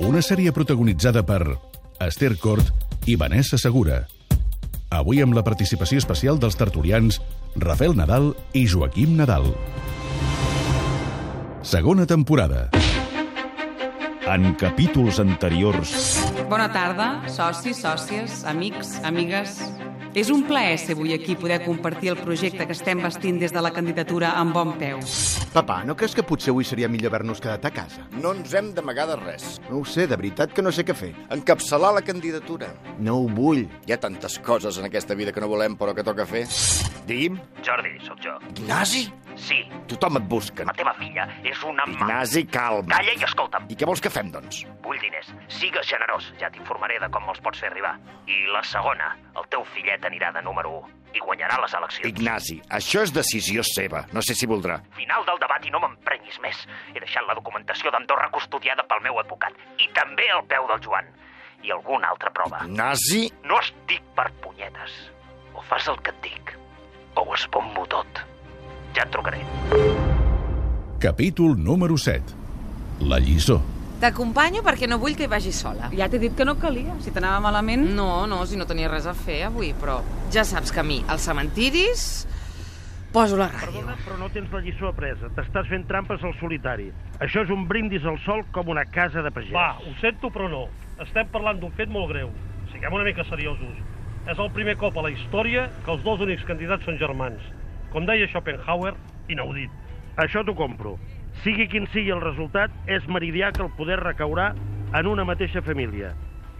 Una sèrie protagonitzada per Esther Cort i Vanessa Segura. Avui amb la participació especial dels tertulians Rafael Nadal i Joaquim Nadal. Segona temporada. En capítols anteriors... Bona tarda, socis, sòcies, amics, amigues. És un plaer ser avui aquí poder compartir el projecte que estem vestint des de la candidatura amb bon peu. Papà, no creus que potser avui seria millor haver-nos quedat a casa? No ens hem d'amagar de res. No ho sé, de veritat que no sé què fer. Encapçalar la candidatura. No ho vull. Hi ha tantes coses en aquesta vida que no volem, però que toca fer. Digui'm, Jordi, sóc jo. Ignasi? Sí, Tothom et busca. la teva filla és una mà. Ignasi, calma. Calla i escolta'm. I què vols que fem, doncs? Vull diners. Sigues generós. Ja t'informaré de com els pots fer arribar. I la segona, el teu fillet anirà de número 1 i guanyarà les eleccions. Ignasi, això és decisió seva. No sé si voldrà. Final del debat i no m'emprenyis més. He deixat la documentació d'Andorra custodiada pel meu advocat. I també el peu del Joan. I alguna altra prova. Ignasi? No estic per punyetes. O fas el que et dic, o ho esbombo tot. Ja et trucaré. Capítol número 7. La lliçó. T'acompanyo perquè no vull que hi vagi sola. Ja t'he dit que no calia. Si t'anava malament... No, no, si no tenia res a fer avui, però ja saps que a mi, als cementiris, poso la ràdio. Perdona, però no tens la lliçó apresa. T'estàs fent trampes al solitari. Això és un brindis al sol com una casa de pagès. Va, ho sento, però no. Estem parlant d'un fet molt greu. Siguem una mica seriosos. És el primer cop a la història que els dos únics candidats són germans. Com deia Schopenhauer, inaudit. Això t'ho compro. Sigui quin sigui el resultat, és meridià que el poder recaurà en una mateixa família.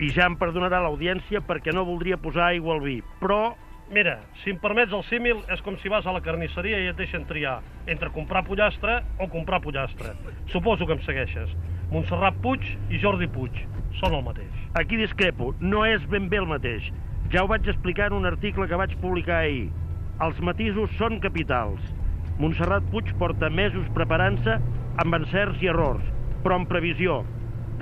I ja em perdonarà l'audiència perquè no voldria posar aigua al vi, però... Mira, si em permets el símil, és com si vas a la carnisseria i et deixen triar entre comprar pollastre o comprar pollastre. Suposo que em segueixes. Montserrat Puig i Jordi Puig són el mateix. Aquí discrepo, no és ben bé el mateix. Ja ho vaig explicar en un article que vaig publicar ahir. Els matisos són capitals. Montserrat Puig porta mesos preparant-se amb encerts i errors, però amb previsió.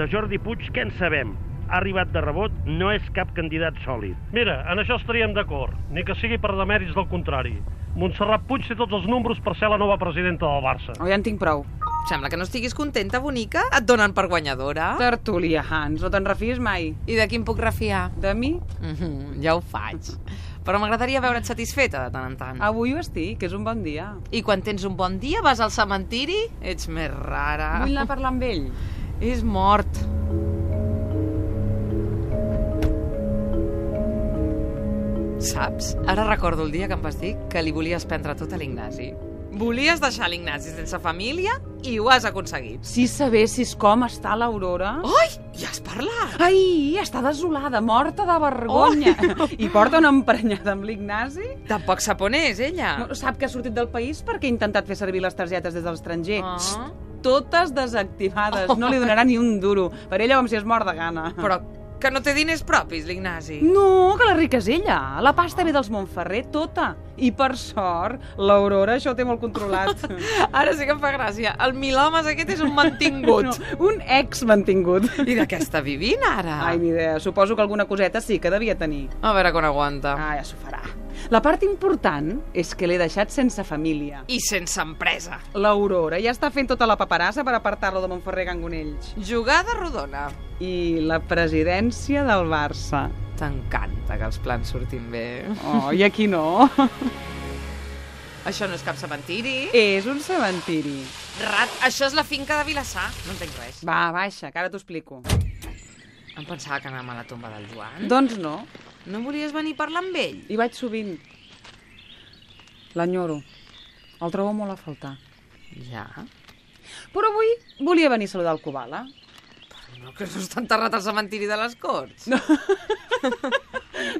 De Jordi Puig què en sabem? Ha arribat de rebot, no és cap candidat sòlid. Mira, en això estaríem d'acord, ni que sigui per demèrits del contrari. Montserrat Puig té tots els números per ser la nova presidenta del Barça. O ja en tinc prou. Sembla que no estiguis contenta, bonica. Et donen per guanyadora. Tertulians, no te'n refies mai. Ah. I de qui em puc refiar? De mi? Mhm, ja ho faig. Però m'agradaria veure't satisfeta de tant en tant. Avui ho estic, és un bon dia. I quan tens un bon dia vas al cementiri? Ets més rara. Vull anar a parlar amb ell. És mort. Saps? Ara recordo el dia que em vas dir que li volies prendre tot a l'Ignasi. Volies deixar l'Ignasi sense família i ho has aconseguit. Si sabessis com està l'Aurora... Ai, ja has parlat! Ai, està desolada, morta de vergonya. Oh! I porta una emprenyada amb l'Ignasi. Tampoc sap on és, ella. No, sap que ha sortit del país perquè ha intentat fer servir les targetes des de l'estranger. Ah. Xxt, Totes desactivades. No li donarà ni un duro. Per ella com si es mor de gana. Però que no té diners propis, l'Ignasi. No, que la rica és ella. La pasta ve dels Montferrer, tota. I per sort, l'Aurora això ho té molt controlat. Ara sí que em fa gràcia. El Milomes aquest és un mantingut. No, un ex mantingut. I de què està vivint, ara? Ai, ni idea. Suposo que alguna coseta sí que devia tenir. A veure quan aguanta. Ah, ja s'ho farà. La part important és que l'he deixat sense família. I sense empresa. L'Aurora ja està fent tota la paperassa per apartar-lo de Montferrer a Gangonells. Jugada rodona. I la presidència del Barça. T'encanta que els plans surtin bé. Oh, i aquí no. Això no és cap cementiri. És un cementiri. Rat, això és la finca de Vilassar. No entenc res. Va, baixa, que ara t'ho explico. Em pensava que anàvem a la tomba del Joan. Doncs no, No volies venir a parlar amb ell? hi vaig sovint. L'enyoro. El trobo molt a faltar. Ja. Però avui volia venir a saludar el Kubala. No, que no està enterrat al cementiri de les Corts. No.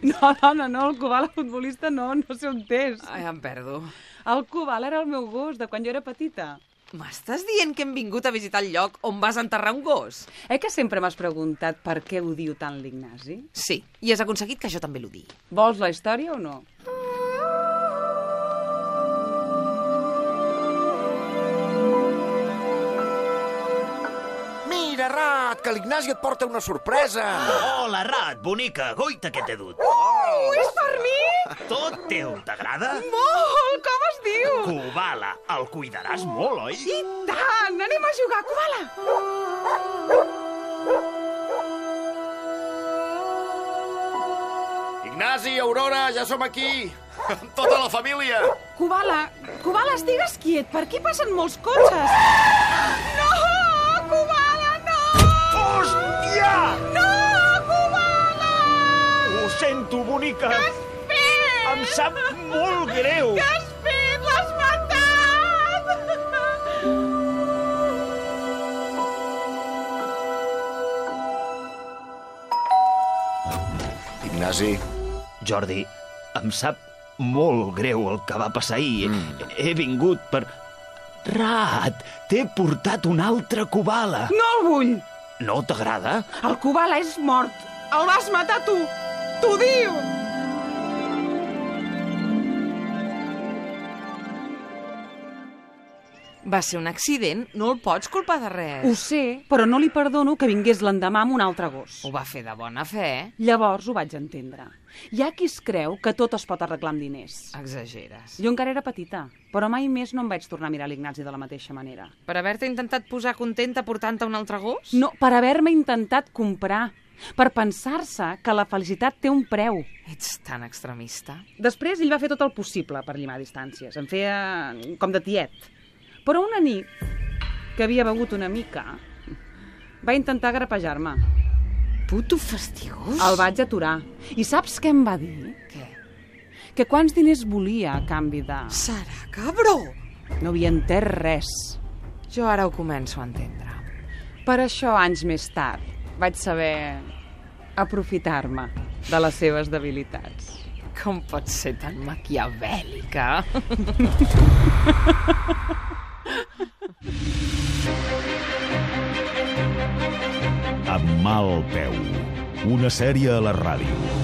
No, dona, no, el Kubala futbolista no, no sé on és. Ai, em perdo. El Kubala era el meu gos de quan jo era petita. M'estàs dient que hem vingut a visitar el lloc on vas enterrar un gos? Eh que sempre m'has preguntat per què ho diu tant l'Ignasi? Sí, i has aconseguit que jo també l'ho digui. Vols la història o no? Mira, Rat, que l'Ignasi et porta una sorpresa. Hola, rat, bonica, goita que t'he dut. Oh, és per mi? Tot teu, t'agrada? Molt! Com es diu? Cubala, el cuidaràs molt, oi? I tant! Anem a jugar, Kubala! Ignasi, Aurora, ja som aquí. Amb tota la família. Kubala, Kubala, estigues quiet. Per aquí passen molts cotxes. No, Kubala, no! Hòstia! No, Kubala! Ho sento, bonica. Fet! Em sap molt greu. Què has fet? L'has matat! Ignasi, Jordi, em sap molt greu el que va passar ahir. Mm. He vingut per... Rat, t'he portat una altra cubala. No el vull! No t'agrada? El Kubala és mort. El vas matar tu. T'ho diu! Va ser un accident, no el pots culpar de res. Ho sé, però no li perdono que vingués l'endemà amb un altre gos. Ho va fer de bona fe, eh? Llavors ho vaig entendre. Hi ha qui es creu que tot es pot arreglar amb diners. Ah. Exageres. Jo encara era petita, però mai més no em vaig tornar a mirar l'Ignasi de la mateixa manera. Per haver-te intentat posar contenta portant-te un altre gos? No, per haver-me intentat comprar, per pensar-se que la felicitat té un preu. Ets tan extremista. Després ell va fer tot el possible per llimar distàncies, en feia mm, com de tiet. Però una nit, que havia begut una mica, va intentar grapejar-me. Puto fastigós. El vaig aturar. I saps què em va dir? Què? Que quants diners volia a canvi de... Sara, cabró! No havia entès res. Jo ara ho començo a entendre. Per això, anys més tard, vaig saber aprofitar-me de les seves debilitats. Com pot ser tan maquiavèlica? Amb mal peu. Una sèrie a la ràdio.